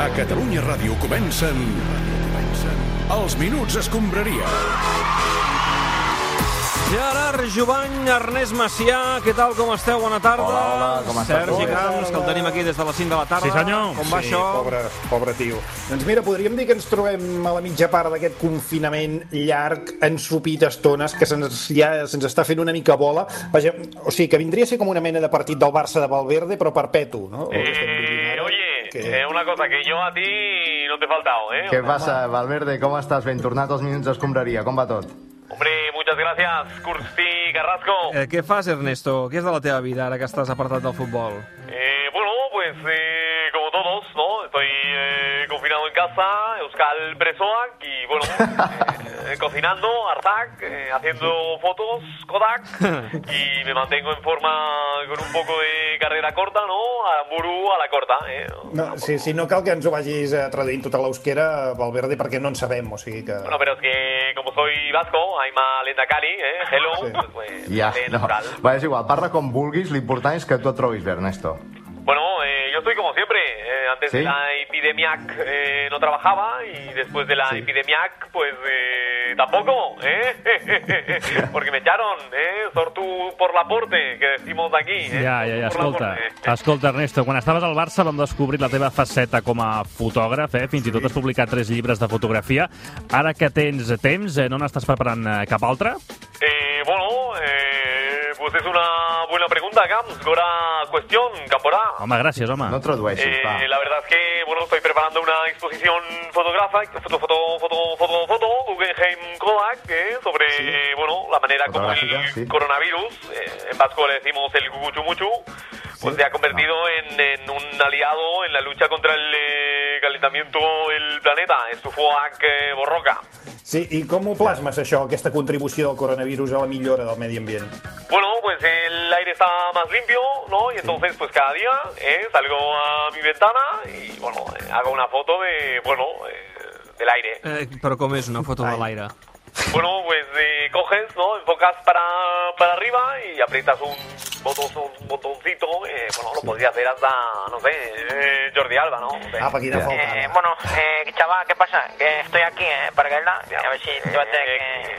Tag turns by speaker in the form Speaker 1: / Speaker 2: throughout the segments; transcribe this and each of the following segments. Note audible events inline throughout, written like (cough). Speaker 1: A Catalunya Ràdio comencen... Els Minuts Escombraria.
Speaker 2: Gerard Jovany, Ernest Macià, què tal, com esteu? Bona tarda.
Speaker 3: Hola, hola, com estàs?
Speaker 2: Sergi
Speaker 3: Hola,
Speaker 2: Camps, que el tenim aquí des de les 5 de la tarda.
Speaker 4: Sí, senyor.
Speaker 2: Com va
Speaker 4: Sí,
Speaker 2: això?
Speaker 3: Pobre, pobre tio.
Speaker 5: Doncs mira, podríem dir que ens trobem a la mitja part d'aquest confinament llarg, ensupit a estones, que se'ns ja, se'ns està fent una mica bola. Vaja, o sigui, que vindria a ser com una mena de partit del Barça de Valverde, però perpetu, no? El que estem vivint
Speaker 6: Eh,
Speaker 5: ara.
Speaker 6: oye,
Speaker 5: Que-
Speaker 6: eh, una cosa, que yo a ti no te he faltado, ¿eh?
Speaker 3: Què passa, Valverde? Com estàs? Ben tornat als minuts d'escombraria. Com va tot?
Speaker 6: Hombre, muchas gracias, Curti Carrasco.
Speaker 2: Eh, què fas, Ernesto? Què és de la teva vida, ara que estàs apartat del futbol?
Speaker 6: Eh, bueno, pues eh, como todos, ¿no? Estoy eh, confinado en casa, Euskal Presoac, y bueno, eh, eh, cocinando, Artac, eh, haciendo fotos, Kodak, y me mantengo en forma con un poco de carrera corta, ¿no? A Muru a la corta, ¿eh?
Speaker 5: No, sí, sí, no cal que ens ho vagis eh, traduint tota l'eusquera, Valverde, perquè no en sabem, o sigui que...
Speaker 6: Bueno, pero es que como soy vasco, hay más lenda Cali, ¿eh? Hello,
Speaker 5: Sí.
Speaker 6: pues, pues,
Speaker 3: Ja,
Speaker 6: eh,
Speaker 3: no.
Speaker 6: natural.
Speaker 3: Va, és igual, parla com vulguis, l'important és que tu et trobis bé, Ernesto.
Speaker 6: Bueno, eh, yo estoy como siempre. eh, antes
Speaker 3: ¿Sí?
Speaker 6: de la epidemiac eh, no trabajaba y después de la epidemiac, pues eh, tampoco, ¿eh? (laughs) Porque me echaron, ¿eh? Sortu por la porte, que decimos aquí. ¿eh?
Speaker 4: Ja, ja, ja,
Speaker 6: Sortu por
Speaker 4: escolta,
Speaker 6: Laporte.
Speaker 4: escolta, Ernesto, quan estaves al Barça vam descobrir la teva faceta com a fotògraf, eh? fins i tot has publicat tres llibres de fotografia. Ara que tens temps, eh, no n'estàs preparant eh, cap altre?
Speaker 6: Eh, bueno, eh, pues es una buena pregunta, Gams. Gora cuestión, Camporá.
Speaker 4: Home, gràcies, home.
Speaker 3: No et tradueixis,
Speaker 6: Eh,
Speaker 3: va.
Speaker 6: la verdad es que, bueno, estoy preparando una exposición fotográfica, foto, foto, foto, foto, foto, Guggenheim Kodak, eh, sobre, eh, bueno, la manera como el
Speaker 3: Fotográfica, sí.
Speaker 6: coronavirus, eh, en vasco le decimos el guguchumuchu, pues se ha convertido en, en un aliado en la lucha contra el eh, calentamiento del planeta, es su FOAC eh, borroca.
Speaker 5: Sí, i com ho plasmes, això, aquesta contribució del coronavirus a la millora del medi ambient?
Speaker 6: Bueno, pues el aire está más limpio, ¿no? Y entonces, pues cada día eh, salgo a mi ventana y, bueno, eh, hago una foto de, bueno, eh, del aire.
Speaker 2: Eh, però com és una foto de l'aire?
Speaker 6: Bueno, pues eh, coges, ¿no? Enfocas para, para arriba y aprietas un, botón, un botoncito. eh, bueno, lo podría hacer hasta, no sé, eh, Jordi Alba, ¿no? No sé.
Speaker 5: Apa, quina
Speaker 3: Ja.
Speaker 5: falta. ara.
Speaker 7: bueno, eh, chaval, ¿qué pasa? Que estoy aquí, eh, para caerla. A ver si te va a tener
Speaker 6: Eh,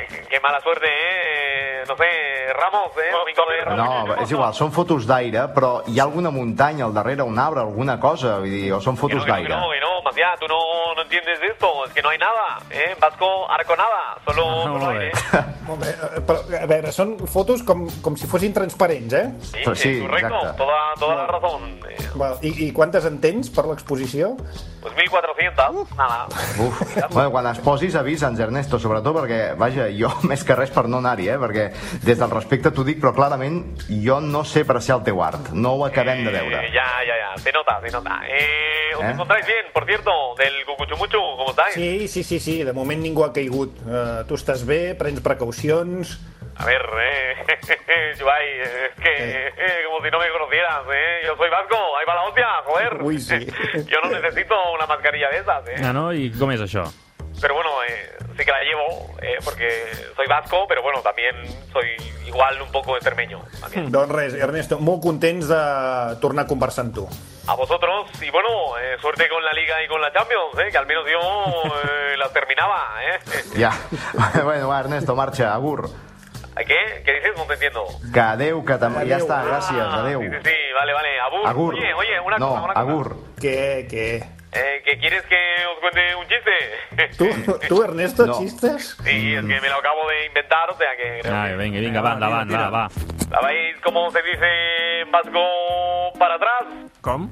Speaker 7: que...
Speaker 6: qué- qué mala suerte, ¿eh? Eh, No sé, Ramos, ¿eh? Domingo de Ramos.
Speaker 3: No, és igual, són fotos d'aire, però hi ha alguna muntanya al darrere, un arbre, alguna cosa, vull dir, o són
Speaker 6: Que no,
Speaker 3: fotos
Speaker 6: que no, que
Speaker 3: d'aire.
Speaker 6: no, eh. que no, Macià, tú no, no entiendes de esto, es que no hay nada, ¿eh? Vasco, arco nada, solo,
Speaker 3: Ah,
Speaker 4: No,
Speaker 6: solo
Speaker 4: no,
Speaker 3: (laughs)
Speaker 6: aire.
Speaker 4: eh.
Speaker 5: Molt bé, eh, però, a veure, són fotos com, com si fossin transparents, eh?
Speaker 6: Sí,
Speaker 3: Pues sí,
Speaker 6: es correcto,
Speaker 3: exacto.
Speaker 6: toda, toda la razón. eh,
Speaker 5: Val, I, I quantes en tens per l'exposició?
Speaker 6: Pues 1400,
Speaker 3: (laughs)
Speaker 6: nada.
Speaker 3: Uf. Bueno, quan es posis avisa'ns, Ernesto, sobretot perquè, vaja, jo (laughs) més que res per no anar-hi, eh? perquè des del respecte t'ho dic, però clarament jo no sé apreciar el teu art, no ho acabem de veure.
Speaker 6: Eh, ya, ya, ya, se nota, se nota. Eh, ¿Os
Speaker 3: ¿Eh?
Speaker 6: encontráis bien, por cierto, del Cucuchumuchu? ¿Cómo estáis?
Speaker 5: Sí, sí, sí, sí, de moment ningú ha caigut. Uh, tu estàs bé, prens precaucions...
Speaker 6: A ver, eh, (laughs) Ibai, eh, es que eh, como si no me conocieras, ¿eh? Yo soy vasco, ahí va la hostia, joder.
Speaker 5: Uy, sí.
Speaker 6: Yo no necesito una mascarilla de esas, ¿eh?
Speaker 4: Ah, no? I com és això?
Speaker 6: Pero bueno, eh, sí que la llevo, eh, porque soy vasco, pero bueno, también soy igual un poco extremeño. También.
Speaker 5: Doncs res, Ernesto, molt contents de tornar a conversar amb tu.
Speaker 6: A vosotros, y bueno, eh, suerte con la Liga y con la Champions, eh, que al menos yo eh, las terminaba. ¿eh?
Speaker 3: Ja. (laughs) Bueno, va, Ernesto, marxa, agur.
Speaker 6: ¿Qué? ¿Qué dices? No te entiendo.
Speaker 3: Que adeu, que tam... ja
Speaker 5: Adeu.
Speaker 3: està, gràcies, adeu.
Speaker 6: Sí, sí, sí, vale, vale. Agur.
Speaker 3: Agur.
Speaker 6: Oye, oye, una
Speaker 3: no,
Speaker 6: cosa, una cosa.
Speaker 3: agur.
Speaker 5: Què, què?
Speaker 6: Eh, ¿Que quieres que os cuente un chiste?
Speaker 5: Tu, tu Ernesto,
Speaker 3: No.
Speaker 5: no.
Speaker 6: (laughs)
Speaker 5: xistes?
Speaker 6: Sí, es que me lo acabo de inventar, o sea que... creo
Speaker 4: Ai,
Speaker 6: que-
Speaker 4: vinga, vinga, va, endavant, va, va.
Speaker 6: ¿Sabéis cómo se dice en vasco para atrás?
Speaker 2: Com?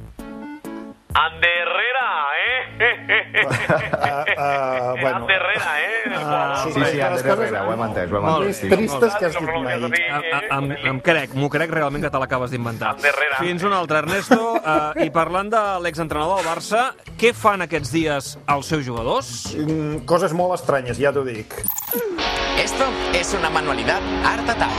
Speaker 6: Anderrera, ¿eh? (laughs)
Speaker 5: Ah, ah, bueno.
Speaker 6: Anderrera, ¿eh? El
Speaker 5: Ah,
Speaker 6: jugador,
Speaker 3: Sí,
Speaker 5: Bé,
Speaker 3: sí,
Speaker 5: les
Speaker 3: Ander
Speaker 5: coses-
Speaker 3: Herrera, ho hem entès, ho hem
Speaker 2: Molt bé.
Speaker 3: entès.
Speaker 5: Més
Speaker 3: Sí.
Speaker 5: tristes que has
Speaker 6: Lo
Speaker 5: dit
Speaker 6: pronuncias
Speaker 5: mai.
Speaker 6: así,
Speaker 2: Em,
Speaker 6: ¿eh?
Speaker 2: em, em, em crec, m'ho crec realment que te l'acabes d'inventar.
Speaker 6: Enderrere.
Speaker 2: Fins un altre, Ernesto. Eh, I parlant de l'exentrenador del Barça, què fan aquests dies els seus jugadors?
Speaker 5: Mm, Coses molt estranyes, ja t'ho dic.
Speaker 8: Esto es una manualidad Art Attack.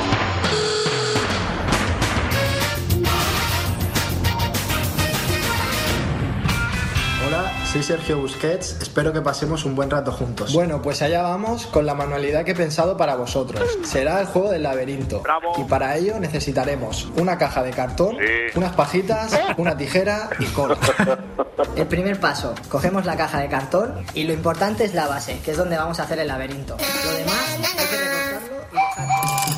Speaker 3: Hola,
Speaker 9: Soy Sergio Busquets, espero que pasemos un buen rato juntos.
Speaker 10: Bueno, pues allá vamos con la manualidad que he pensado para vosotros. Será el juego del laberinto. Y para ello necesitaremos una caja de cartón, unas pajitas, una tijera y cola.
Speaker 11: El primer paso, cogemos la caja de cartón y lo importante es la base, que es donde vamos a hacer el laberinto. Lo demás hay que recortarlo y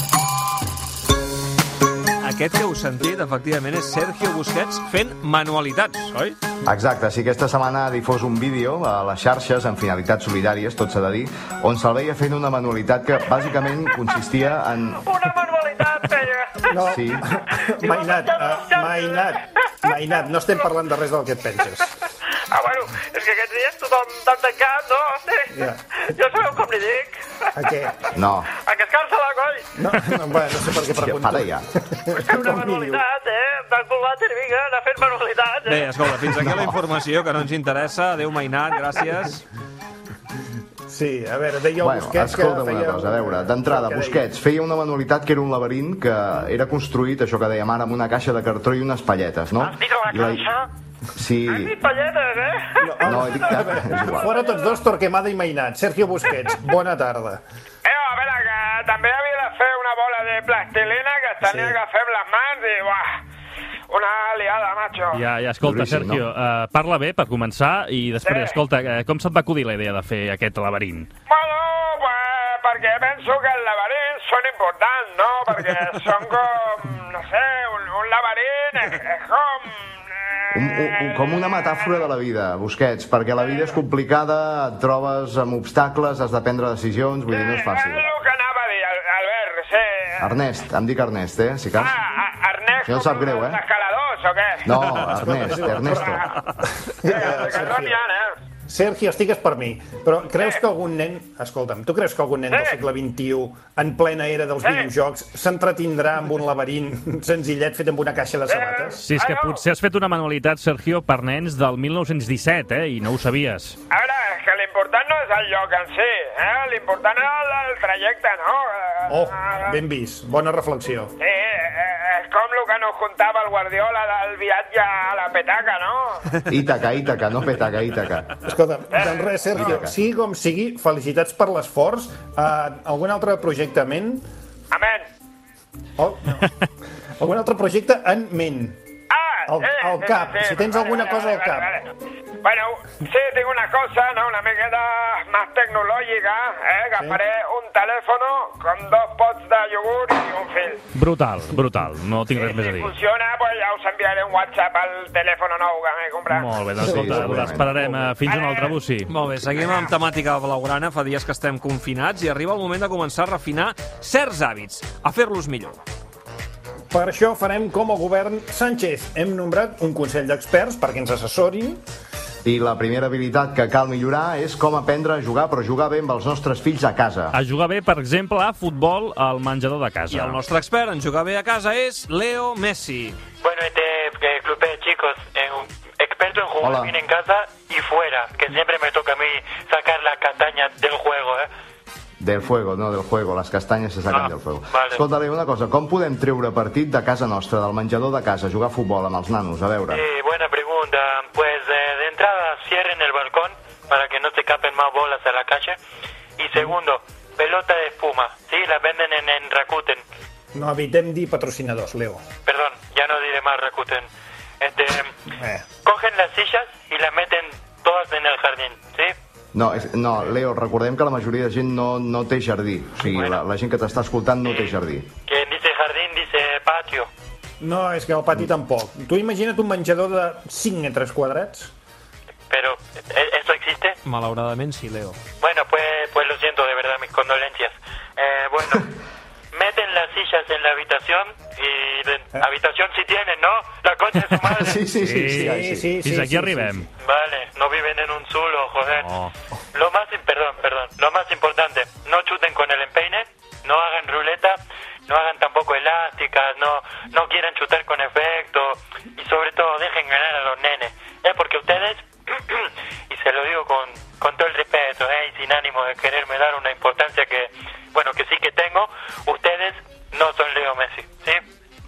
Speaker 2: Aquest que heu sentit, efectivament, és Sergio Busquets fent manualitats, oi?
Speaker 3: Exacte, sí, aquesta setmana ha difós un vídeo a les xarxes amb finalitats solidàries, tot s'ha de dir, on se'l veia fent una manualitat que bàsicament consistia en...
Speaker 5: No,
Speaker 3: Sí.
Speaker 5: (laughs) mai anat, eh, mai anat, mai anat. No estem parlant de res del que et penses.
Speaker 6: Ah, bueno, és que aquests dies tothom tan tancat, no? Sí.
Speaker 5: Ja.
Speaker 6: Jo sabeu com li dic?
Speaker 5: A què?
Speaker 3: No,
Speaker 6: A cascar-se-la, coll!
Speaker 5: No, no, (laughs) bueno, no sé per què
Speaker 3: hòstia,
Speaker 5: pregunto.
Speaker 3: para ja.
Speaker 6: Fer una manualitat, eh? Tan culàter, vinga, anar fent manualitats, eh?
Speaker 2: Bé, escolta, fins aquí la informació que no ens interessa. Adéu, Mainat, gràcies.
Speaker 5: Sí, a veure, deia el
Speaker 3: Bueno,
Speaker 5: Busquets que
Speaker 3: escolta'm una
Speaker 5: feia...
Speaker 3: cosa, a veure, d'entrada,
Speaker 5: que deia.
Speaker 3: Busquets feia una manualitat que era un laberint que era construït, això que dèiem ara, amb una caixa de cartró i unes palletes, no?
Speaker 7: dit la
Speaker 3: I la-
Speaker 7: caixa?
Speaker 3: Sí,
Speaker 6: I palletes, eh? No.
Speaker 3: no, he dit que... És igual.
Speaker 5: Fora tots dos, Torquemada i Mainat. Sergio Busquets, bona tarda.
Speaker 6: Eh, a veure, que també havia de fer una bola de plastilina que es tenia
Speaker 5: Sí.
Speaker 6: sí. que fer amb les mans i, buah, una liada, macho.
Speaker 4: Ja, ja, escolta,
Speaker 3: Duríssim,
Speaker 4: Sergio, eh, parla bé per començar i després,
Speaker 6: Sí.
Speaker 4: escolta, eh, com se't va acudir la idea de fer aquest laberint?
Speaker 6: Bueno, pues, perquè penso que els laberins són importants, no? Perquè són com, no sé, un, un laberint és, és com... eh,
Speaker 3: Un, un, un, com una metàfora de la vida, Busquets, perquè la vida és complicada, et trobes amb obstacles, has de prendre decisions, vull dir, no és fàcil.
Speaker 6: És el que anava a dir, Al- Albert, sí.
Speaker 3: Ernest, em dic Ernest, eh, si
Speaker 6: Ah,
Speaker 3: cas.
Speaker 6: a- Ernest,
Speaker 3: Això em sap greu, eh?
Speaker 6: els escaladors, o què?
Speaker 3: No, Ernest, Ernesto.
Speaker 6: Eh, que no n'hi ha, eh?
Speaker 5: Sergio, estigues per mi, però creus que algun nen... Escolta'm, tu creus que algun nen del
Speaker 6: Sí.
Speaker 5: segle XXI, en plena era dels
Speaker 6: Sí.
Speaker 5: videojocs, s'entretindrà amb un laberint (laughs) senzillet fet amb una caixa de sabates?
Speaker 4: Si és que potser has fet una manualitat, Sergio, per nens del 1917, eh, i no ho sabies.
Speaker 6: A veure, és que l'important no és el lloc en si, eh? L'important és el, el trajecte, no? Eh,
Speaker 5: Oh,
Speaker 6: eh,
Speaker 5: ben vist, bona reflexió.
Speaker 6: Sí, eh, és com el que nos contava el Guardiola del viatge a la petaca, no?
Speaker 3: (laughs) Ítaca, Ítaca, no petaca, Ítaca.
Speaker 5: Escolta,
Speaker 6: Eh.
Speaker 5: doncs res, Sergio,
Speaker 3: Vinga.
Speaker 5: sigui com sigui, felicitats per l'esforç. Uh, algun altre projecte en ment?
Speaker 6: Amén.
Speaker 5: Oh, no. algun altre projecte en ment?
Speaker 6: Ah,
Speaker 5: Al- al cap, si
Speaker 6: eh,
Speaker 5: tens alguna cosa al cap.
Speaker 6: vale. Bueno, sí, tinc una cosa, no?, una miqueta més tecnològica, eh? Agafaré un telèfon com dos pots de iogurt i un fil.
Speaker 4: Brutal, brutal, no tinc res més a
Speaker 6: Si
Speaker 4: dir.
Speaker 6: funciona, pues ja us enviaré un WhatsApp al telèfon nou que m'he comprat.
Speaker 4: Molt bé,
Speaker 3: Sí,
Speaker 4: doncs escolta,
Speaker 3: segurament.
Speaker 4: l'esperarem eh, fins un altre bussi.
Speaker 2: Molt bé, seguim amb temàtica blaugrana. Fa dies que estem confinats i arriba el moment de començar a refinar certs hàbits, a fer-los millor.
Speaker 5: Per això farem com a govern Sánchez. Hem nombrat un consell d'experts perquè ens assessorin.
Speaker 3: I la primera habilitat que cal millorar és com aprendre a jugar, però jugar bé amb els nostres fills a casa.
Speaker 4: A jugar bé, per exemple, a futbol al menjador de
Speaker 2: I
Speaker 4: casa.
Speaker 2: el nostre expert en jugar bé a casa és Leo Messi.
Speaker 7: Bueno, este eh, club de chicos, eh, un experto en jugar
Speaker 3: Hola.
Speaker 7: bien en casa y fuera, que siempre me toca a mí sacar la castaña del juego, ¿eh?
Speaker 3: Del fuego, no del fuego, les castanyes se saquen
Speaker 7: Ah,
Speaker 3: del fuego.
Speaker 7: vale.
Speaker 3: Escolta, Leo, una cosa, com podem treure partit de casa nostra, del menjador de casa, jugar a futbol amb els nanos, a veure?
Speaker 7: Eh, buena pregunta. Pues eh, de entrada cierren el balcón para que no se capen más bolas a la calle. Y segundo, pelota de espuma. Sí, la venden en, en Rakuten.
Speaker 5: No evitem dir patrocinadors, Leo.
Speaker 7: Perdón, ya no diré más Rakuten. Este,
Speaker 5: Eh.
Speaker 7: cogen las sillas y las meten todas en el jardín. Sí.
Speaker 3: No, és, no, Leo, recordem que la majoria de gent no, no té jardí. O sigui, la, la gent que t'està escoltant no
Speaker 7: Eh,
Speaker 3: té jardí.
Speaker 7: Quien dice jardín dice patio.
Speaker 5: No, és que el
Speaker 2: Mm.
Speaker 5: pati tampoc. Tu imagina't un menjador de 5 metres quadrats.
Speaker 7: Pero ¿e- eso existe.
Speaker 2: Malauradament, sí, Leo.
Speaker 7: Bueno, pues, pues lo siento, de verdad, mis condolencias. Eh, bueno, meten las sillas en la habitación y de- habitación si tienen, ¿no? La concha de su
Speaker 3: (laughs)
Speaker 7: madre.
Speaker 3: Sí, sí, sí. sí,
Speaker 4: Sí,
Speaker 3: ai, sí,
Speaker 5: sí,
Speaker 4: Fins aquí arribem.
Speaker 7: Vale, no viven en un zulo, joder.
Speaker 4: No.
Speaker 7: Lo más, im- perdón, perdón, lo más importante, no chuten con el empeine, no hagan ruleta, no hagan tampoco elásticas, no, no quieran chutar con efecto y sobre todo dejen ganar a los nenes. Es porque ustedes, (clears throat) y se lo digo con, con todo el respeto, eh, y sin ánimo de quererme dar una importancia que, bueno, que sí que tengo, ustedes no son Leo Messi, ¿sí?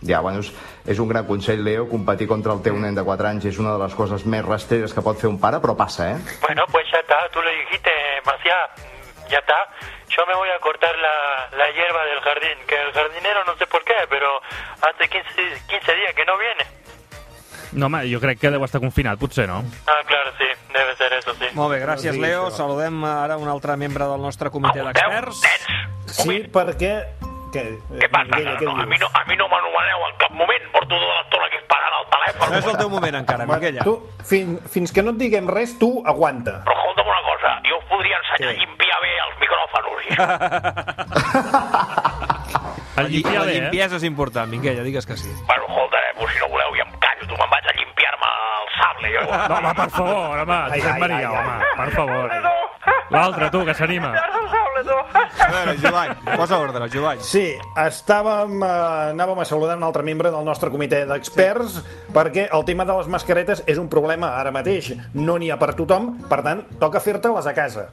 Speaker 3: Ja, bueno, és, és un gran consell, Leo, competir contra el teu nen de 4 anys és una de les coses més rastreres que pot fer un pare, però passa, eh?
Speaker 7: Bueno, pues ya está, tú lo dijiste, Maciá, ya está. Yo me voy a cortar la, la hierba del jardín, que el jardinero no sé por qué, pero hace 15, 15 días que no viene.
Speaker 4: No, home, jo crec que deu estar confinat, potser, no?
Speaker 7: Ah, claro, sí, debe ser eso, sí.
Speaker 2: Molt bé, gràcies, Leo. Saludem ara un altre membre del nostre comitè d'experts.
Speaker 5: Sí, perquè... Què, què passa? a mi no,
Speaker 6: a mi no m'anomeneu en cap moment, porto tota l'estona que és pagant el telèfon.
Speaker 2: No és el teu moment encara, Miquella.
Speaker 5: Tu, fin, fins que no et diguem res, tu aguanta.
Speaker 6: Però escolta'm una cosa, jo us podria ensenyar a llimpiar bé els micròfons.
Speaker 2: La, lli-
Speaker 6: llimpiar
Speaker 2: la
Speaker 6: bé, eh?
Speaker 2: limpiesa és important, Miquella, digues que sí.
Speaker 6: Bueno, escoltarem si no voleu, i em callo, tu me'n vaig a llimpiar-me el sable. Jo.
Speaker 4: No, home, per favor, home,
Speaker 6: Ai,
Speaker 4: Josep
Speaker 6: ai,
Speaker 4: Maria,
Speaker 6: ai, ai.
Speaker 4: home, per favor. L'altre, tu, que s'anima.
Speaker 2: A veure, Jovany, posa ordre, Jovany.
Speaker 5: Sí, estàvem, eh, anàvem a saludar un altre membre del nostre comitè d'experts sí. perquè el tema de les mascaretes és un problema ara mateix. No n'hi ha per tothom, per tant, toca fer-te-les a casa.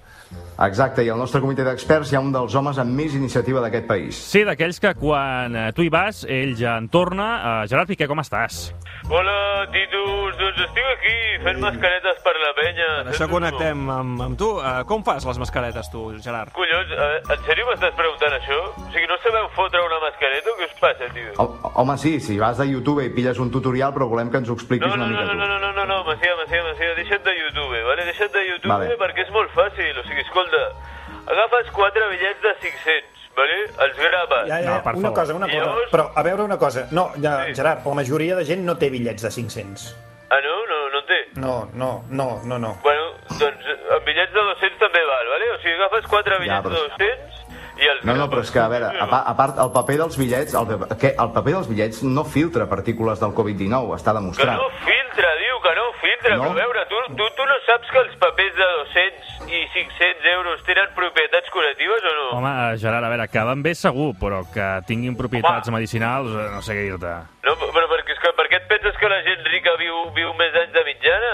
Speaker 3: Exacte, i al nostre comitè d'experts hi ha un dels homes amb més iniciativa d'aquest país.
Speaker 4: Sí, d'aquells que quan eh, tu hi vas, ell ja en torna. Eh, Gerard Piqué, com estàs?
Speaker 6: Hola, Titus, doncs estic aquí fent mascaretes per la penya.
Speaker 2: Per això connectem amb, amb tu. Uh, com fas les mascaretes, tu, Gerard?
Speaker 6: Collons, eh, en sèrio m'estàs preguntant això? O sigui, no sabeu fotre una mascareta? Què us passa, tio?
Speaker 8: Oh.
Speaker 3: Home, sí, si vas a YouTube i pilles un tutorial, però volem que ens ho expliquis
Speaker 6: No, no,
Speaker 3: una mica
Speaker 6: no, no,
Speaker 3: tu.
Speaker 6: no, no, no, no, no, Macià, Macià, Macià, deixa't de YouTube, vale? Deixa't de YouTube
Speaker 3: Vale.
Speaker 6: perquè és molt fàcil, o sigui, escolta, agafes quatre bitllets de 500, vale? Els grapes.
Speaker 5: Ja, ja, una cosa, una cosa.
Speaker 6: Llavors,
Speaker 5: Però, a veure una cosa. No, ja, Gerard, la majoria de gent no té bitllets de 500.
Speaker 6: ah, no? No, no en té?
Speaker 5: No, no, no, no, no.
Speaker 6: Bueno, doncs eh, amb bitllets de 200 també val, vale? O sigui, agafes quatre bitllets
Speaker 3: però-
Speaker 6: de 200 i els
Speaker 3: No, no, però és que, a veure, a, pa- a part, el paper dels bitllets, el, pa- que, el paper dels bitllets no filtra partícules del Covid-19, està
Speaker 6: Que no
Speaker 3: demostrat.
Speaker 6: filtra, diu, que no filtra. No? Però a veure, tu, tu, tu no saps que els papers de 200 i 500 euros tenen propietats curatives o no?
Speaker 4: Home, eh, Gerard, a veure, que van bé segur, però que tinguin propietats medicinals, eh, no sé què dir-te.
Speaker 6: No, però perquè, és que, per què et penses que la gent rica viu, viu més anys de mitjana?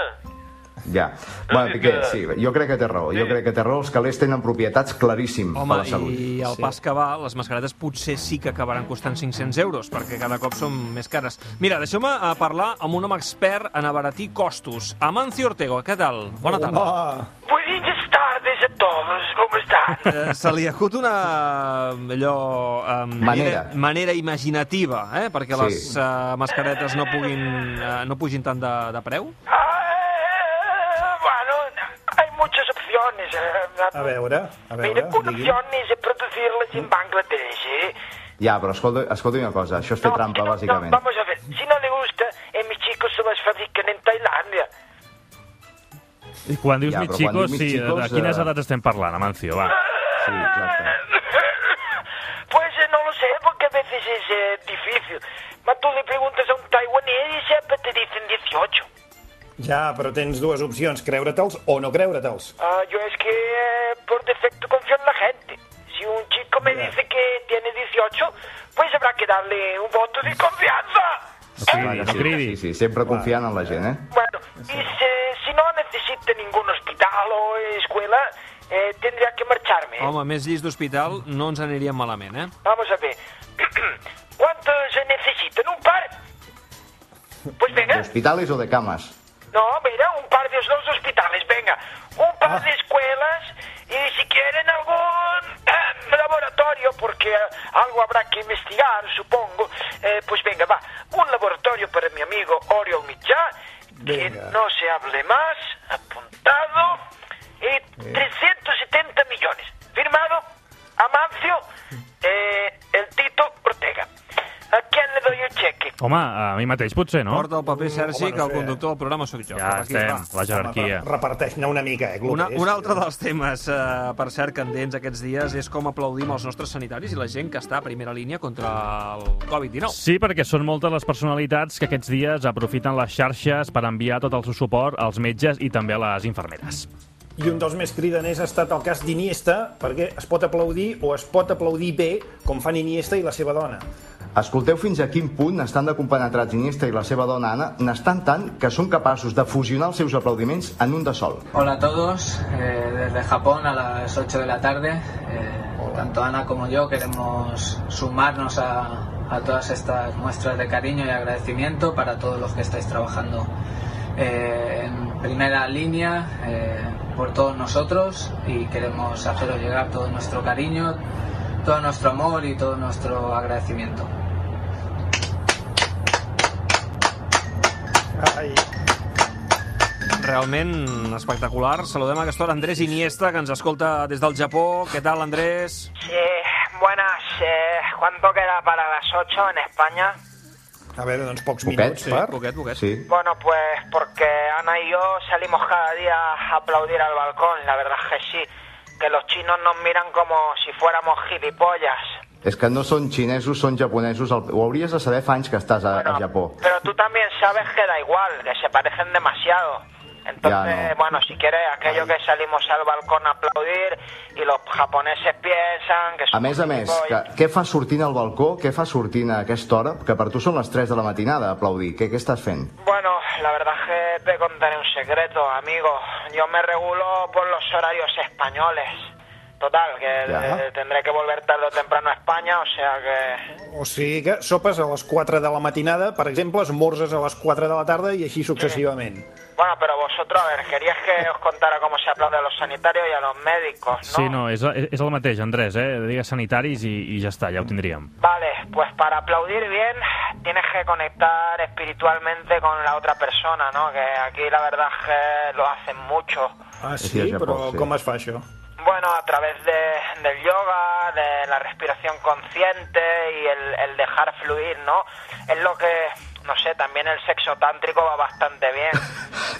Speaker 3: Ja. Bueno, Piqué, sí, jo crec que té raó. Jo crec que té raó, els calés tenen propietats claríssim
Speaker 2: Home,
Speaker 3: per la salut.
Speaker 2: i al pas que va, les mascaretes potser sí que acabaran costant 500 euros, perquè cada cop són més cares. Mira, deixeu-me eh, parlar amb un home expert en abaratir costos. Amancio Ortego, què tal? Bona tarda.
Speaker 6: Buenas tardes a todos, ¿cómo están?
Speaker 2: Eh, se li acut una allò, um,
Speaker 3: Manera.
Speaker 2: manera imaginativa, eh? perquè
Speaker 3: Sí.
Speaker 2: les uh, mascaretes no puguin uh, no pugin tant de, de preu.
Speaker 12: Eh, Bueno, hay muchas opciones. eh,
Speaker 5: A veure, a
Speaker 12: Mira,
Speaker 5: veure,
Speaker 12: una
Speaker 5: digui.
Speaker 12: opción es producirlas en Bangladesh. ¿eh?
Speaker 3: Ja, però escolta, escolta una cosa, això és fer trampa,
Speaker 12: No,
Speaker 3: bàsicament.
Speaker 12: vamos a ver, si no le gusta, eh, mis chicos se las fabrican en Tailandia.
Speaker 4: I quan dius
Speaker 3: Ja,
Speaker 4: ja,
Speaker 3: però
Speaker 4: mis
Speaker 3: quan
Speaker 4: chicos,
Speaker 3: dius mis
Speaker 4: sí, de, de
Speaker 3: chicos,
Speaker 4: quines
Speaker 3: eh,
Speaker 4: edats estem parlant, Amancio, va.
Speaker 3: Sí, exacte.
Speaker 12: Pues eh, no lo sé, porque a veces es eh, difícil. Mas tú le preguntas a un taiwanés y siempre te dicen 18.
Speaker 5: Ja, però tens dues opcions, creure-te'ls o no creure-te'ls.
Speaker 12: Ah, yo es que eh, por defecto confío en la gente. Si un chico me dice que tiene 18, pues habrá que darle un voto de confianza.
Speaker 3: Sí, no cridis. Sí, sí, sempre confiant en la gent, eh?
Speaker 12: Bueno, y si, si no necesita ningún hospital o escuela, eh, tendría que marcharme.
Speaker 2: Home, més llits d'hospital no ens aniríem malament, eh?
Speaker 12: Vamos a ver. (clears throat) ¿Cuántos se necesitan? ¿Un par? Pues venga.
Speaker 3: D'hospitales o de cames?
Speaker 12: No, mira, un par de los dos hospitales, venga. Un par de escuelas y si quieren algún eh, laboratorio, porque eh, algo habrá que investigar, supongo. Eh, pues venga, va. Un laboratorio para mi amigo Oriol Michá. Que no se hable más. Apuntado. Y 370 millones. Firmado. Amancio. eh, el Tito Ortega. ¿A quién le doy el cheque?
Speaker 4: Home, a mi mateix potser, no?
Speaker 2: Porta el paper, Sergi,
Speaker 4: Home, no
Speaker 2: que el
Speaker 4: sé.
Speaker 2: conductor del programa sóc jo.
Speaker 4: Ja
Speaker 2: Cap aquí,
Speaker 4: estem,
Speaker 2: va.
Speaker 4: la jerarquia.
Speaker 5: eh. Reparteix-ne una mica, eh,
Speaker 2: Una,
Speaker 5: Globes.
Speaker 2: un altre dels temes, eh, per cert, candents aquests dies és com aplaudim els nostres sanitaris i la gent que està a primera línia contra el Covid-19.
Speaker 4: Sí, perquè són moltes les personalitats que aquests dies aprofiten les xarxes per enviar tot el seu suport als metges i també a les infermeres.
Speaker 5: I un dels més cridaners ha estat el cas d'Iniesta, perquè es pot aplaudir o es pot aplaudir bé, com fan Iniesta i la seva dona.
Speaker 3: Escolteu fins a quin punt estan de compenetrats Iniesta i la seva dona Anna, n'estan tant que són capaços de fusionar els seus aplaudiments en un de sol.
Speaker 13: Hola a todos, eh, desde Japón a las 8 de la tarde. eh, tanto Ana como yo queremos sumarnos a, a todas estas muestras de cariño y agradecimiento para todos los que estáis trabajando eh, en primera línea eh, por todos nosotros y queremos haceros llegar todo nuestro cariño, todo nuestro amor y todo nuestro agradecimiento.
Speaker 2: Realment espectacular. Saludem a aquesta hora Andrés Iniesta, que ens escolta des del Japó. Què tal, Andrés?
Speaker 14: Eh, buenas, eh, ¿cuánto queda para las 8 en España?
Speaker 5: A veure, doncs pocs
Speaker 3: Poquet,
Speaker 5: minuts
Speaker 3: sí,
Speaker 5: per...
Speaker 2: Poquet, poquet.
Speaker 3: Sí.
Speaker 14: Bueno, pues porque Ana y yo salimos cada día a aplaudir al balcón, la verdad es que sí, que los chinos nos miran como si fuéramos gilipollas.
Speaker 3: És que no són xinesos, són japonesos. El- Ho hauries de saber fa anys que estàs a, a Japó.
Speaker 14: Pero tú también sabes que da igual, que se parecen demasiado. Entonces,
Speaker 3: Ya, no.
Speaker 14: bueno, si quieres, aquello que salimos al balcón a aplaudir y los japoneses piensan que
Speaker 3: A més a més, que, què fas sortint al balcó? Què fas sortint a aquesta hora? Que per tu són les 3 de la matinada, aplaudir. Què, què estàs fent?
Speaker 14: Bueno, la verdad es que te contaré un secreto, amigo. Yo me regulo por los horarios españoles. Total, que
Speaker 5: Ya.
Speaker 14: eh, tendré que volver tarde o temprano a España, o sea que...
Speaker 5: O sigui que sopes a les 4 de la matinada, per exemple, esmorzes a les 4 de la tarda i així successivament.
Speaker 14: Bueno, pero vosotros, a ver, querías que os contara cómo se aplaude a los sanitarios y a los médicos, ¿no?
Speaker 4: Sí, no, és, és el mateix, Andrés, eh? Digues sanitaris i, i ja està, ja ho tindríem.
Speaker 14: Vale, pues para aplaudir bien tienes que conectar espiritualmente con la otra persona, ¿no? Que aquí la verdad es que lo hacen mucho.
Speaker 5: Ah,
Speaker 3: Sí,
Speaker 5: sí?
Speaker 3: a Japó,
Speaker 5: Però
Speaker 3: sí.
Speaker 5: com es fa això?
Speaker 14: Bueno, a través de, del yoga, de la respiración consciente y el, el dejar fluir, ¿no? Es lo que, no sé, también el sexo tántrico va bastante bien.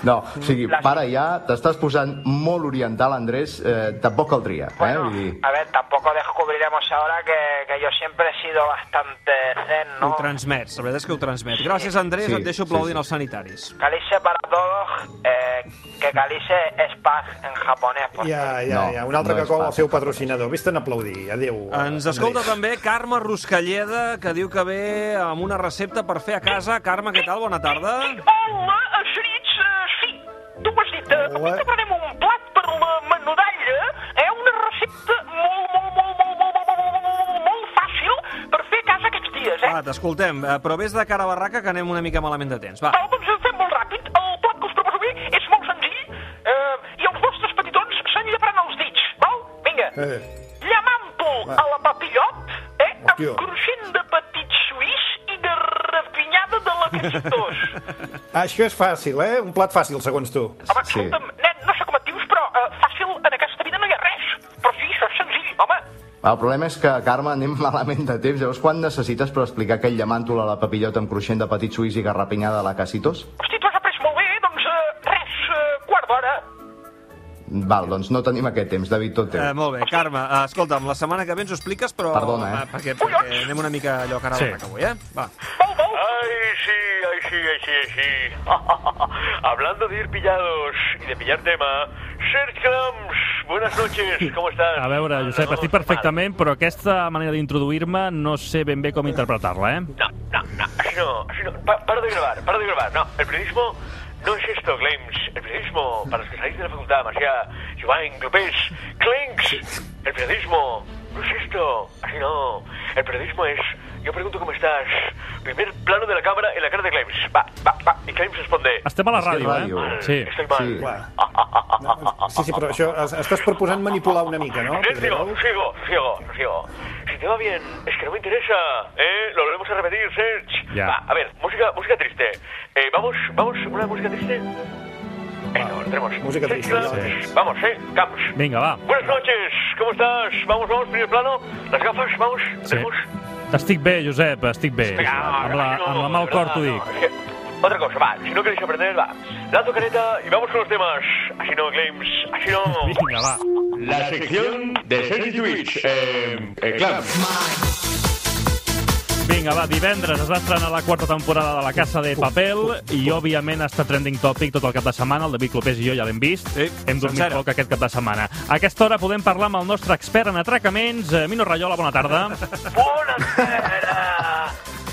Speaker 3: No, o sigui, para ja, t'estàs posant molt oriental, Andrés, eh, tampoc caldria, eh? Vull dir,
Speaker 14: A ver, tampoco descubriremos ahora que, que yo siempre he sido bastante zen,
Speaker 2: Ho
Speaker 14: ¿no?
Speaker 2: transmets, la veritat és que ho transmet. Gràcies, Andrés,
Speaker 3: Sí,
Speaker 2: et deixo aplaudint sí, sí. els sanitaris.
Speaker 14: Calice para todos, eh, que calice es paz en japonés. por
Speaker 5: Ja,
Speaker 14: cierto.
Speaker 5: ja, ja. Un altre
Speaker 3: no
Speaker 5: que
Speaker 3: és
Speaker 5: cou el
Speaker 3: fàcil,
Speaker 5: seu patrocinador. Vés-te'n a aplaudir. Adéu.
Speaker 2: Ens escolta també Carme Ruscalleda, que diu que ve amb una recepta per fer a casa. Carme, què tal? Bona tarda.
Speaker 12: Hola, eh, gerits, eh, sí, tu ho has dit, eh, avui preparem un plat per la menudalla, eh, una recepta molt, molt, molt, molt, molt, molt, molt, molt, molt, molt, molt fàcil per fer a casa aquests dies, eh.
Speaker 2: Va, t'escoltem, eh, però vés de cara a barraca que anem una mica malament de temps. Va,
Speaker 12: Val, doncs ho fem molt ràpid, el plat que us proposo avui és molt senzill, eh, i els vostres petitons se'n llevaran els dits, val? Vinga,
Speaker 5: Eh,
Speaker 12: llamant-ho a la papillot, eh, amb
Speaker 5: Hòstia.
Speaker 12: cruixent de petit suís i de rapinyada de la cachetós.
Speaker 5: (laughs) Això és fàcil, eh? Un plat fàcil, segons tu.
Speaker 12: Home, sí. escolta'm, nen, no sé com et dius, però eh, fàcil en aquesta vida no hi ha res. Però sí, això és senzill, home.
Speaker 3: el problema és que, Carme, anem (laughs) malament de temps. Llavors, quan necessites per explicar aquell llamàntol a la papillota amb cruixent de petit suís i garrapinyada a la Casitos?
Speaker 12: Hosti, tu has après molt bé, doncs eh, res, eh, quart d'hora.
Speaker 3: Val, doncs no tenim aquest temps, David, tot teu.
Speaker 2: eh, molt bé, Carme, eh, escolta'm, la setmana que ve ens ho expliques, però...
Speaker 3: Perdona, eh?
Speaker 2: va, perquè, perquè anem una mica allò cara a
Speaker 3: Sí.
Speaker 2: barraca avui, eh? Va.
Speaker 15: Ay, sí, ay, sí, ay, sí, ay, sí. (laughs) Hablando de ir pillados y de pillar tema, Serge Krams, buenas noches, ¿cómo estás?
Speaker 4: (laughs) A veure, Josep, estic perfectament, però aquesta manera d'introduir-me no sé ben bé com interpretar-la, eh?
Speaker 15: No, no, no, así no, así no. Pa- para de grabar, para de grabar. No, el periodismo no es esto, Claims. El periodismo, para los que salís de la facultad, Masia, Joan, Lupés, Claims. El periodismo no es esto, así no. El periodismo es, yo pregunto cómo estás. Primer plano de la cámara en la cara de Claims. Va, va, va. Y Claims responde.
Speaker 4: Estem a la
Speaker 15: "Estoy
Speaker 4: ràdio,
Speaker 15: mal,
Speaker 4: eh?
Speaker 15: mal,
Speaker 4: Sí.
Speaker 15: Estoy mal.
Speaker 5: Sí, sí, però això es- estàs proposant manipular una mica, no?
Speaker 15: Sigo, sigo, sigo, sigo. Si te va bien, es que no me interesa, ¿eh? Lo volvemos a repetir, Serge.
Speaker 4: Ya.
Speaker 15: Va, a ver, música, música triste. Eh, vamos, vamos, una música triste. Eh, no, tenemos.
Speaker 5: música triste,
Speaker 15: Serge, Vamos, eh, Camps.
Speaker 4: Vinga, va.
Speaker 15: Buenas noches, ¿cómo estás? Vamos, vamos, primer plano. Las gafas, vamos,
Speaker 4: Sí.
Speaker 15: tenemos.
Speaker 4: Estic bé, Josep, estic bé.
Speaker 15: Vinga,
Speaker 4: Amb la, amb la mà al cor t'ho dic.
Speaker 15: Otra cosa, va, si no queréis aprender, va. Lanzo caneta y vamos con los temas. Así no, Claims, así no.
Speaker 4: (laughs) Vinga, va.
Speaker 6: La sección de Sergi Twitch. Eh, eh, clar.
Speaker 4: Vinga, va, divendres es va estrenar la quarta temporada de La Casa de Papel i, òbviament, està trending topic tot el cap de setmana. El David Clopés i jo ja l'hem vist. Sí, hem dormit
Speaker 2: sencera.
Speaker 4: poc aquest cap de setmana. A aquesta hora podem parlar amb el nostre expert en atracaments, eh, Mino Rayola, bona
Speaker 6: (laughs)
Speaker 4: tarda.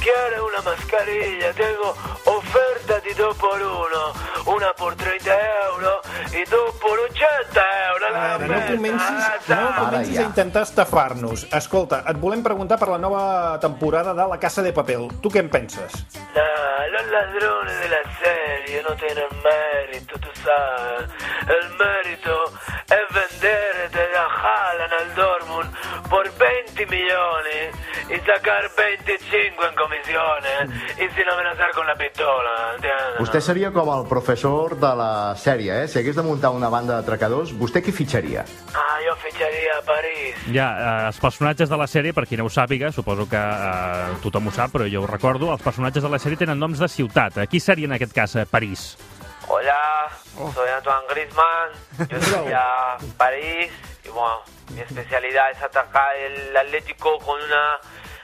Speaker 15: Quiero una mascarilla, tengo oferta de dos por uno.
Speaker 16: una por 30 euros i tu per 80 euros.
Speaker 5: Ara, no comencis,
Speaker 16: Ah,
Speaker 5: no comencis a intentar estafar-nos. Escolta, et volem preguntar per la nova temporada de La Casa de Papel. Tu què en penses?
Speaker 16: Nah, los ladrones de la serie no tienen mérito, tú sabes. El mérito es venderte la Jalan al Dortmund por 20 millones y sacar 25 en comisiones y sin amenazar con la pistola. ¿entiendes?
Speaker 3: Vostè seria com el professor de la sèrie, eh? Si hagués de muntar una banda d'atracadors, vostè qui fitxaria?
Speaker 16: Ah, yo ficharía a París.
Speaker 4: Ja, eh, els personatges de la sèrie, per qui no ho sàpiga, suposo que eh, tothom ho sap, però jo ho recordo, els personatges de la sèrie tenen noms de ciutat. Eh, Qui seria en aquest cas eh, París?
Speaker 16: Hola, soy Antoine Griezmann, yo soy a París y bueno, mi especialidad es atacar el Atlético con una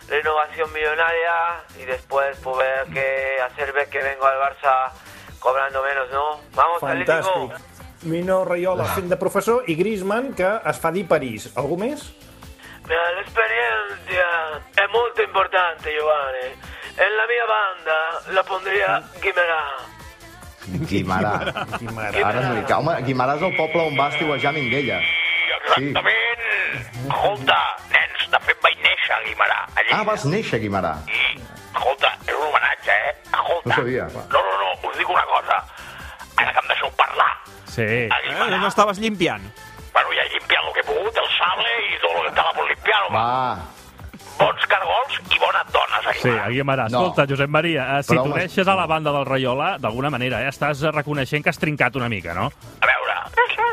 Speaker 16: renovación millonaria y después poder que hacer ver que vengo al Barça cobrando menos, ¿no? Vamos,
Speaker 5: Fantàstic.
Speaker 16: Atlético.
Speaker 5: Mino Rayola fent de professor i Griezmann, que es fa dir París. Algú més?
Speaker 16: Mira, la experiencia es muy importante, Giovanni. En la mía banda la pondría Guimerá.
Speaker 3: Guimarà. Guimarà. Ara és veritat. Home, Guimarà és el poble on va estiuejar Minguella. Sí.
Speaker 17: Exactament. Escolta, nens, de fet vaig néixer a Guimarà. A
Speaker 3: Ah, vas néixer a Guimarà.
Speaker 17: Escolta, és un homenatge, eh? Escolta.
Speaker 3: No sabia.
Speaker 17: No, no, no, us dic una cosa. Ara que em deixeu parlar.
Speaker 4: Sí.
Speaker 2: Eh, no estaves limpiant.
Speaker 17: Bueno, ja he limpiat el que he pogut, el sable i tot el que estava per limpiar. home.
Speaker 3: Va.
Speaker 17: Bons cargols i bones dones.
Speaker 4: Sí, a Guimarà.
Speaker 17: No.
Speaker 4: Escolta, Josep Maria, eh, si
Speaker 17: Però, home,
Speaker 4: t'uneixes a la banda del Raiola, d'alguna manera, eh, estàs eh, reconeixent que has trincat una mica, no?
Speaker 17: A veure...
Speaker 5: No,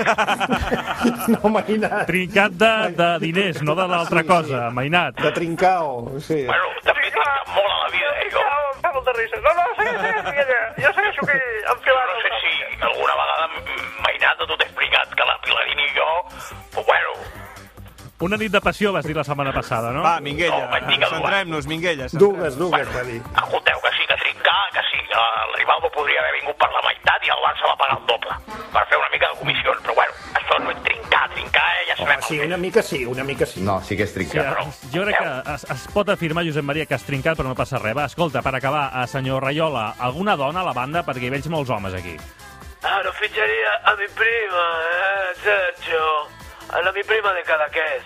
Speaker 2: Ah.
Speaker 5: Mainat.
Speaker 4: Trincat de, de diners, no de l'altra cosa, Mainat.
Speaker 5: De trincao, sí.
Speaker 17: Bueno, també he tingut molt a la vida, eh, jo. No, no, sí, sí, sí, (laughs) jo sé això que em filarà. No sé si alguna vegada mm, Mainat tu t'he explicat que la Pilarín i jo, però bueno,
Speaker 4: Una nit de passió vas dir la setmana passada, no?
Speaker 2: Va, Minguella, centrem-nos, Minguella.
Speaker 5: Dugues, dugues, va dir.
Speaker 17: escolteu, que sí que trincar, que sí que el Rivaldo podria haver vingut per la meitat i el Barça va pagar el doble per fer una mica de comissió, però bueno, això no és trincar, trincar, eh, ja sabem.
Speaker 5: Sí, una mica sí, una mica sí.
Speaker 3: No, sí que és
Speaker 4: Sí,
Speaker 3: trincat.
Speaker 4: jo crec que es, es pot afirmar, Josep Maria, que has trincat, però no passa res. Va, escolta, per acabar, eh, senyor Raiola, alguna dona a la banda? Perquè hi veig molts homes aquí. Eh,
Speaker 16: Ah, lo ficharía a mi prima, eh, Sergio. A la mi prima de Cadaqués.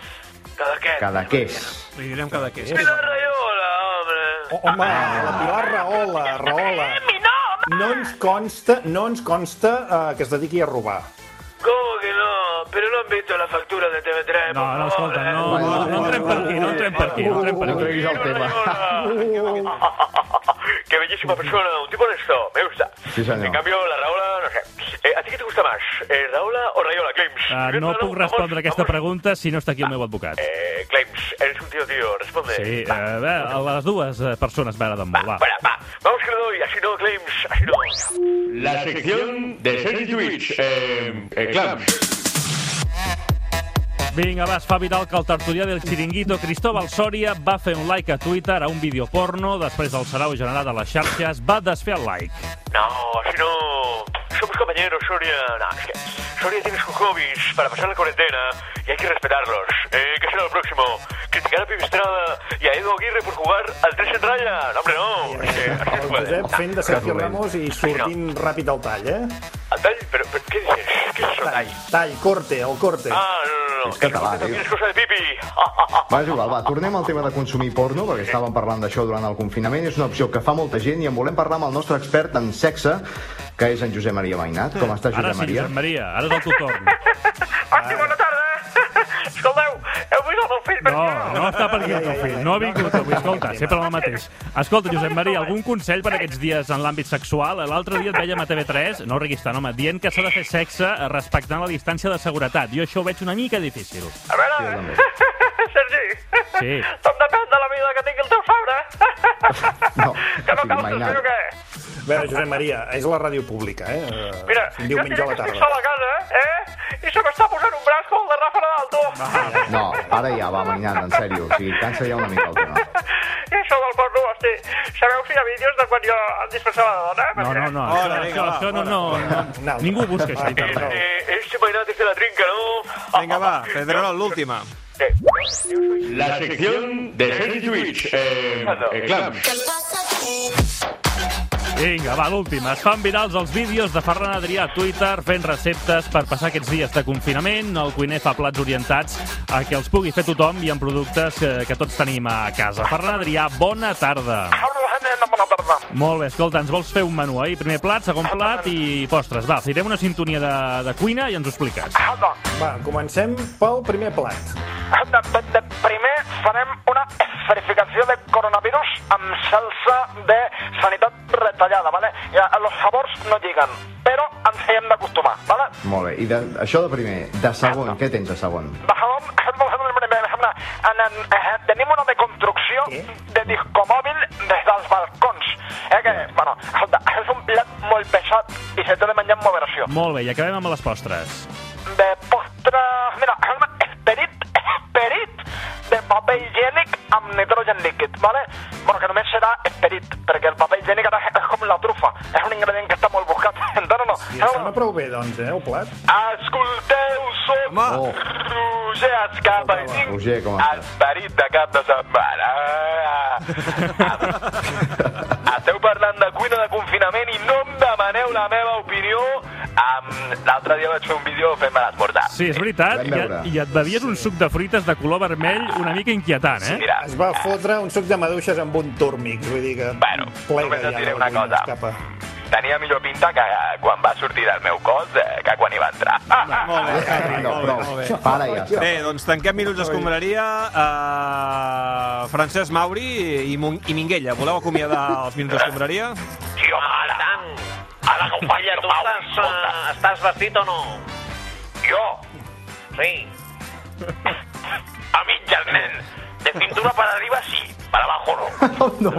Speaker 16: Cadaqués.
Speaker 3: Cadaqués.
Speaker 2: Li direm cada què.
Speaker 16: Pilar Rayola, hombre.
Speaker 5: Home, la Pilar Rahola, Rahola. No ens consta, no ens consta eh, que es dediqui a robar.
Speaker 16: ¿Cómo que Oh, no? Pero no han visto la factura de TV3. por
Speaker 4: No, no,
Speaker 16: favor,
Speaker 4: escolta,
Speaker 16: eh.
Speaker 4: no, no, no entrem per aquí, no entrem per aquí, no entrem per aquí. No
Speaker 3: treguis el tema. Uh.
Speaker 17: (laughs) Qué bellísima persona, un tipo honesto, me gusta.
Speaker 3: Sí, señor.
Speaker 17: En cambio, la Raola, no sé. Eh, ¿A ti qué te gusta más, eh, Raola o Rayola, Claims?
Speaker 4: Uh, no puc respondre aquesta pregunta si no està aquí el meu advocat.
Speaker 17: Eh, Claims, eres un tío, tío, responde.
Speaker 4: Sí, eh, bé, a les dues eh, persones m'agraden molt, va.
Speaker 17: Vamos que le doy, así no, Claims, así no.
Speaker 15: La sección de Sergi Lluís. Eh, eh, clams.
Speaker 4: Vinga, va, es fa viral que el tertulià del xiringuito Cristóbal Soria va fer un like a Twitter a un vídeo porno, després del sarau generat a les xarxes, va desfer el like.
Speaker 17: No, así no. Somos compañeros, Soria. No, es que Soria tiene sus hobbies para pasar la cuarentena y hay que respetarlos. Eh, ¿Qué será lo próximo? Criticar a Pipistrada i a Edu Aguirre por jugar al 3 en raya. No, hombre, no. Es que así no se puede.
Speaker 5: Josep fent de Sergio Ramos i sortint ràpid al tall, eh?
Speaker 17: Al tall, però, però què dices? Què és això, tall?
Speaker 5: Tall, corte, el corte.
Speaker 17: Ah, no, no, no.
Speaker 3: És català,
Speaker 17: También
Speaker 3: tio.
Speaker 17: es cosa de
Speaker 3: (laughs)
Speaker 17: pipi.
Speaker 3: Va, és igual, va, tornem al tema de consumir porno, perquè estàvem parlant d'això durant el confinament, és una opció que fa molta gent i en volem parlar amb el nostre expert en sexe, que és en Josep Maria Mainat. Com està,
Speaker 4: Ara sí,
Speaker 3: Josep Maria?
Speaker 4: Josep Maria, ara és el teu torn.
Speaker 17: (laughs) Hosti, bona tarda. Escolteu, heu vist el meu fill?
Speaker 4: No, no està per aquí el teu fill, no ha vingut avui, escolta, sempre el mateix. Escolta, Josep Maria, algun consell per aquests dies en l'àmbit sexual? L'altre dia et veiem a TV3, no riguis tant, home, dient que s'ha de fer sexe respectant la distància de seguretat. Jo això ho veig una mica difícil.
Speaker 17: A veure, (laughs) Sergi,
Speaker 4: Sí.
Speaker 17: tot depèn de la vida que tingui el teu sabre. que no cal
Speaker 5: mainat.
Speaker 17: ser o què?
Speaker 5: A veure, Josep Maria, és la ràdio pública, eh? eh?
Speaker 17: Mira,
Speaker 5: un
Speaker 17: jo
Speaker 5: diumenge a la
Speaker 17: estic
Speaker 5: tarda.
Speaker 17: sol a casa, eh? I se m'està posant un braç com el de Rafa Nadal, tu.
Speaker 3: No, ara ja va, Mainat, en sèrio. O sigui, cansa ja una mica el tema.
Speaker 17: I això del porno, hosti, sabeu si hi ha vídeos de quan jo em disfressava de dona?
Speaker 4: No, no, no,
Speaker 17: Hola,
Speaker 4: això, això,
Speaker 17: vinga,
Speaker 4: això no, no, no, ningú ho busca això a internet.
Speaker 17: Eh, este mainat és de la trinca, no? Eh.
Speaker 2: Vinga, va, Pedrerol, l'última.
Speaker 15: La sección de Sergi Lluís. Eh, eh, clams.
Speaker 4: Vinga, va, l'última. Es fan virals els vídeos de Ferran Adrià a Twitter fent receptes per passar aquests dies de confinament. El cuiner fa plats orientats a que els pugui fer tothom i amb productes que, que tots tenim a casa. Ferran Adrià, bona tarda. Molt bé, escolta, ens vols fer un menú, eh? Primer plat, segon plat i postres. Va, firem una sintonia de, de cuina i ens ho expliques.
Speaker 5: Ah, Va, comencem pel primer plat.
Speaker 12: Primer farem una esferificació de coronavirus amb salsa de sanitat retallada, ¿vale? Ja, els sabors no lliguen, però ens hi hem d'acostumar, ¿vale?
Speaker 3: Molt bé, i de, això de primer. De segon, què tens de segon?
Speaker 12: En, en, eh, tenim una deconstrucció de discomòbil des dels balcons. Eh, que, bueno, escolta, és un plat molt pesat i se t'ha de menjar amb moderació.
Speaker 3: Mm.
Speaker 4: Molt bé, i acabem amb les postres.
Speaker 12: De postres... Mira, escolta, esperit, esperit de paper higiènic amb nitrogen líquid, ¿vale? Bueno, que només serà esperit, perquè el paper higiènic ara és com la trufa, és un ingredient que està molt buscat, (laughs) entens o no?
Speaker 5: I sona prou bé, doncs, eh, el plat.
Speaker 12: Escolteu, soc
Speaker 3: Oh.
Speaker 5: Home.
Speaker 12: Roger Escapa i tinc
Speaker 3: Roger, com
Speaker 12: el parit de cap de setmana. Esteu parlant de cuina de confinament i no em demaneu la meva opinió. Um, L'altre dia vaig fer un vídeo fent-me l'esportar.
Speaker 4: Sí, és veritat, i, et- i et bevies un suc de fruites de color vermell una mica inquietant, eh?
Speaker 5: Es va fotre un suc de maduixes amb un túrmix, vull dir que... Bueno,
Speaker 12: només et diré una cosa. Tenia millor pinta que eh, quan va sortir del meu cos eh, que quan hi va entrar.
Speaker 17: Ah,
Speaker 2: Molt bé, Harry, molt bé, molt bé.
Speaker 3: Ah, Para ja.
Speaker 2: Bé, doncs tanquem Minuts d'Escombraria. Uh, Francesc Mauri i, Mon i Minguella, voleu acomiadar els Minuts d'Escombraria?
Speaker 17: Sí, home, ara. Ah, Ara, (laughs) companya, tu estàs, eh, estàs vestit o no? Jo? Sí. (laughs) A mitges, nen. De cintura per arriba sí, per abajo no.
Speaker 3: No.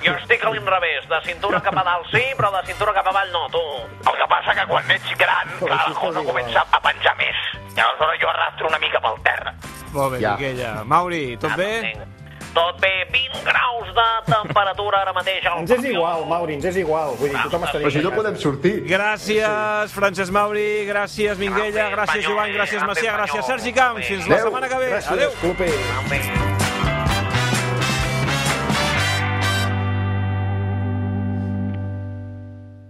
Speaker 17: Jo estic a l'inrevés, de cintura cap a dalt sí, però de cintura cap avall no, tu. El que passa que quan ets gran, clar, el cono comença a penjar més. I aleshores jo arrastro una mica pel terra.
Speaker 2: Molt bé,
Speaker 17: Ja.
Speaker 2: Minguella. Mauri, tot bé?
Speaker 17: Tot bé, 20 graus de temperatura ara mateix al
Speaker 5: Ens és igual, Mauri, ens és igual. Vull dir, tothom estaria... a casa.
Speaker 3: sortir.
Speaker 2: Gràcies, Francesc Mauri, gràcies, Minguella, gràcies, Joan, gràcies, Macià, gràcies, Sergi Camps. Fins la setmana que ve. Adéu.
Speaker 5: Gràcies, cluper.
Speaker 17: Adéu.